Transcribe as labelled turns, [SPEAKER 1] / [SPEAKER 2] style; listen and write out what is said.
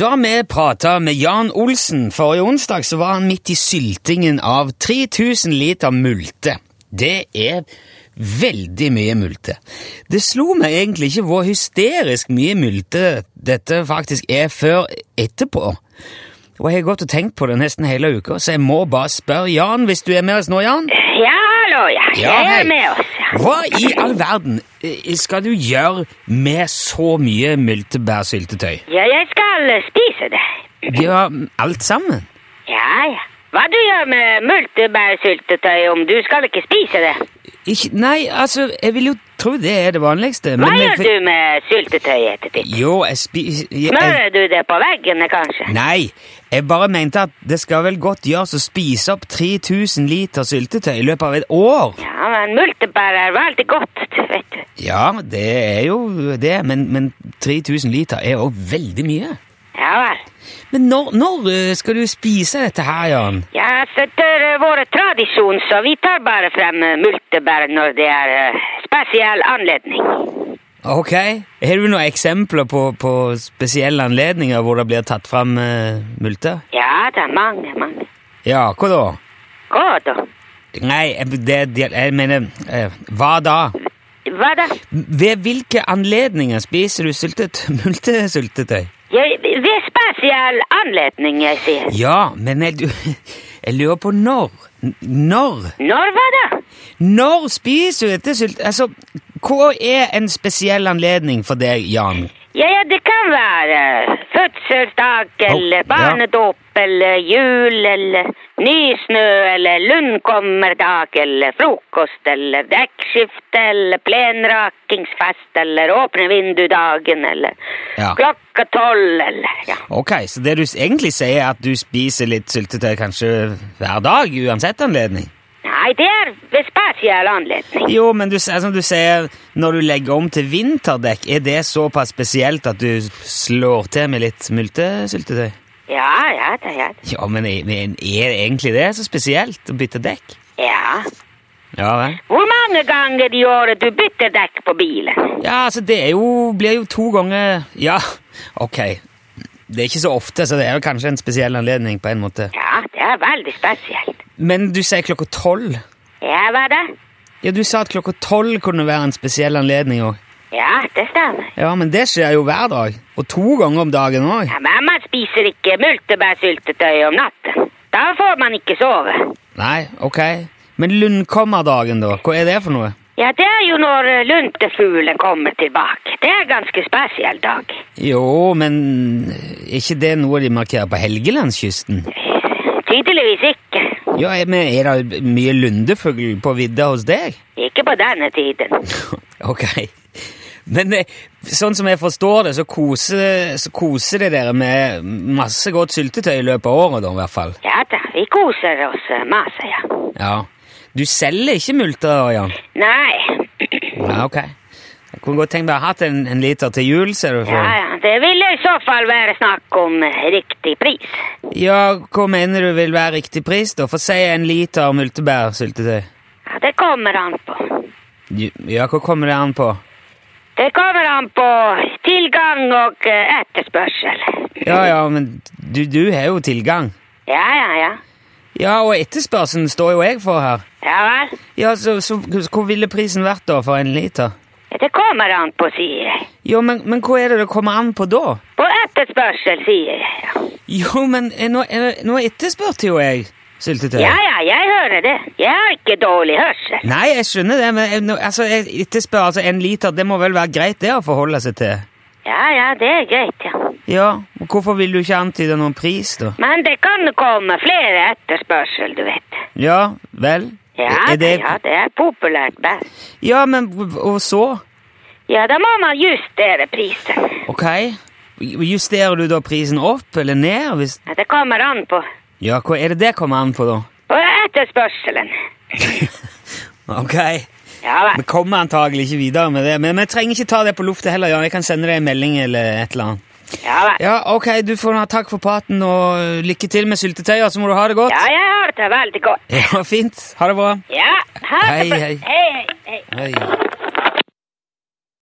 [SPEAKER 1] Da vi prata med Jan Olsen forrige onsdag, så var han midt i syltingen av 3000 liter multe. Det er veldig mye multe. Det slo meg egentlig ikke hvor hysterisk mye multe dette faktisk er før etterpå. Og jeg har gått og tenkt på det nesten hele uka, så jeg må bare spørre Jan hvis du er med oss nå, Jan.
[SPEAKER 2] Ja, hallo, ja.
[SPEAKER 1] Ja,
[SPEAKER 2] jeg
[SPEAKER 1] hei.
[SPEAKER 2] er med oss. ja.
[SPEAKER 1] Hva i all verden eh, skal du gjøre med så mye multebærsyltetøy?
[SPEAKER 2] Ja, jeg skal eh, spise det.
[SPEAKER 1] Gjør alt sammen?
[SPEAKER 2] Ja, ja. Hva du gjør med multebærsyltetøy om du skal ikke spise det?
[SPEAKER 1] Ikke, nei, altså, jeg vil jo tro det er det vanligste.
[SPEAKER 2] Hva
[SPEAKER 1] jeg
[SPEAKER 2] gjør
[SPEAKER 1] fi-
[SPEAKER 2] du med syltetøy etterpå?
[SPEAKER 1] Jo, jeg spiser jeg,
[SPEAKER 2] Smører du det på veggene, kanskje?
[SPEAKER 1] Nei, jeg bare mente at det skal vel godt gjøres å spise opp 3000 liter syltetøy i løpet av et år.
[SPEAKER 2] Ja, men multebær er veldig godt, vet du.
[SPEAKER 1] Ja, det er jo det, men, men 3000 liter er jo veldig mye.
[SPEAKER 2] Ja vel.
[SPEAKER 1] Men når, når eh, skal du spise dette her, Jan?
[SPEAKER 2] Ja, så etter eh, vår tradisjon, så vi tar bare frem eh, multebær når det er eh, spesiell anledning.
[SPEAKER 1] Ok, Har du noen eksempler på, på spesielle anledninger hvor det blir tatt fram eh, multer?
[SPEAKER 2] Ja, det er mange, mange.
[SPEAKER 1] Ja, hva da?
[SPEAKER 2] Godt, da.
[SPEAKER 1] Nei, jeg- det, det, jeg mener eh, Hva da?
[SPEAKER 2] Hva da?
[SPEAKER 1] Ved hvilke anledninger spiser du syltet, multesyltetøy?
[SPEAKER 2] Jeg, ved spesiell anledning, jeg sier.
[SPEAKER 1] Ja, men jeg, du- jeg lurer på når. N- Når?
[SPEAKER 2] Når hva da?
[SPEAKER 1] Når spiser du dette sylt... Altså, hva er en spesiell anledning for deg, Jan?
[SPEAKER 2] Ja, ja, det kan være eh, fødselsdag, eller
[SPEAKER 1] ja.
[SPEAKER 2] barnedåp, eller jul, eller nysnø, eller lundkommerdag, eller frokost, eller dekkskifte, eller plenrakingsfest, eller åpne vindudagen, eller
[SPEAKER 1] Ja.
[SPEAKER 2] klokka tolv, eller ja.
[SPEAKER 1] Ok, så det du s- egentlig sier, er at du spiser litt syltetøy kanskje hver dag, uansett anledning?
[SPEAKER 2] Nei, det er ved spesiell anledning.
[SPEAKER 1] Jo, men du, s- altså, du sier når du legger om til vinterdekk, er det såpass spesielt at du slår til med litt multesyltetøy?
[SPEAKER 2] Ja, ja, det er det.
[SPEAKER 1] Ja, men er, men er egentlig det så spesielt å bytte dekk?
[SPEAKER 2] Ja.
[SPEAKER 1] Ja, vel?
[SPEAKER 2] Hvor mange ganger i året du bytter dekk på bilen?
[SPEAKER 1] Ja, altså, det er jo, blir jo to ganger Ja, ok. Det er ikke så ofte, så det er jo kanskje en spesiell anledning. på en måte.
[SPEAKER 2] Ja, det er veldig spesielt.
[SPEAKER 1] Men du sier klokka tolv?
[SPEAKER 2] Ja, hva da?
[SPEAKER 1] Ja, du sa at klokka tolv kunne være en spesiell anledning òg.
[SPEAKER 2] Ja, det stemmer.
[SPEAKER 1] Ja, men det skjer jo hver dag. Og to ganger om dagen òg.
[SPEAKER 2] Ja, men man spiser ikke multebærsyltetøy om natten. Da får man ikke sove.
[SPEAKER 1] Nei, ok. Men lundkommerdagen, da? Hva er det for noe?
[SPEAKER 2] Ja, det er jo når eh, luntefuglen kommer tilbake. Det er en ganske spesiell dag.
[SPEAKER 1] Jo, men eh, er ikke det noe de markerer på Helgelandskysten?
[SPEAKER 2] Eh, Tydeligvis ikke.
[SPEAKER 1] Ja, men Er det mye lundefugl på vidda hos deg?
[SPEAKER 2] Ikke på denne tiden.
[SPEAKER 1] Ok. Men eh, sånn som jeg forstår det, så koser, så koser det dere med masse godt syltetøy i løpet av året, da, i hvert fall.
[SPEAKER 2] Ja da, vi koser oss eh, masse, ja.
[SPEAKER 1] Ja. Du selger ikke multer, Jan?
[SPEAKER 2] Nei,
[SPEAKER 1] Ja, ok. Jeg kunne godt tenkt meg å ha hatt en, en liter til jul, ser du.
[SPEAKER 2] ja,
[SPEAKER 1] For.
[SPEAKER 2] ja, det vil i så fall være snakk om eh, riktig pris.
[SPEAKER 1] Ja, hva mener du vil være riktig pris, da? For si en liter multebærsyltetøy.
[SPEAKER 2] Ja, det kommer an på.
[SPEAKER 1] Ja, hva kommer det an på?
[SPEAKER 2] Det kommer an på tilgang og eh, etterspørsel.
[SPEAKER 1] Ja, ja, men du, du har jo tilgang.
[SPEAKER 2] Ja, ja, ja.
[SPEAKER 1] Ja, og etterspørselen står jo jeg for her.
[SPEAKER 2] Ja vel.
[SPEAKER 1] Ja, så, så hvor ville prisen vært da for en liter?
[SPEAKER 2] Det kommer an på, sier jeg.
[SPEAKER 1] Jo, men, men hva er det det kommer an på da?
[SPEAKER 2] På etterspørsel, sier jeg. ja.
[SPEAKER 1] Jo, men eh, nå, eh, nå etterspurte jo jeg syltetøy.
[SPEAKER 2] Ja, ja, jeg hører det. Jeg har ikke dårlig hørsel.
[SPEAKER 1] Nei, jeg skjønner det, men eh, nå, altså, jeg etterspør altså en liter, det må vel være greit det å forholde seg til?
[SPEAKER 2] Ja, ja, det er greit, ja.
[SPEAKER 1] Ja, og hvorfor vil du ikke antyde noen pris da?
[SPEAKER 2] Men det kan komme flere etterspørsel, du vet.
[SPEAKER 1] Ja, vel?
[SPEAKER 2] Ja,
[SPEAKER 1] Er det...
[SPEAKER 2] ja, det er populært best.
[SPEAKER 1] Ja, men og så?
[SPEAKER 2] Ja, da må man justere prisen.
[SPEAKER 1] Ok. Justerer du da prisen opp eller ned? Hvis...
[SPEAKER 2] Ja, Det kommer an på,
[SPEAKER 1] Ja, hva er det det kommer an på da?
[SPEAKER 2] på etterspørselen.
[SPEAKER 1] Ok.
[SPEAKER 2] Ja
[SPEAKER 1] Vi
[SPEAKER 2] vel.
[SPEAKER 1] kommer antagelig ikke videre med det, men vi trenger ikke ta det på luftet heller, Jan. Jeg kan sende deg en melding eller et eller annet.
[SPEAKER 2] Ja vel.
[SPEAKER 1] Ja, ok, du får ha takk for praten, og lykke til med syltetøya, så må du ha det godt.
[SPEAKER 2] Ja, jeg har det veldig godt.
[SPEAKER 1] Ja, fint. Ha det bra.
[SPEAKER 2] Ja, ha det
[SPEAKER 1] Hei,
[SPEAKER 2] bra.
[SPEAKER 1] hei.
[SPEAKER 2] Hei, hei, hei.
[SPEAKER 1] Hei.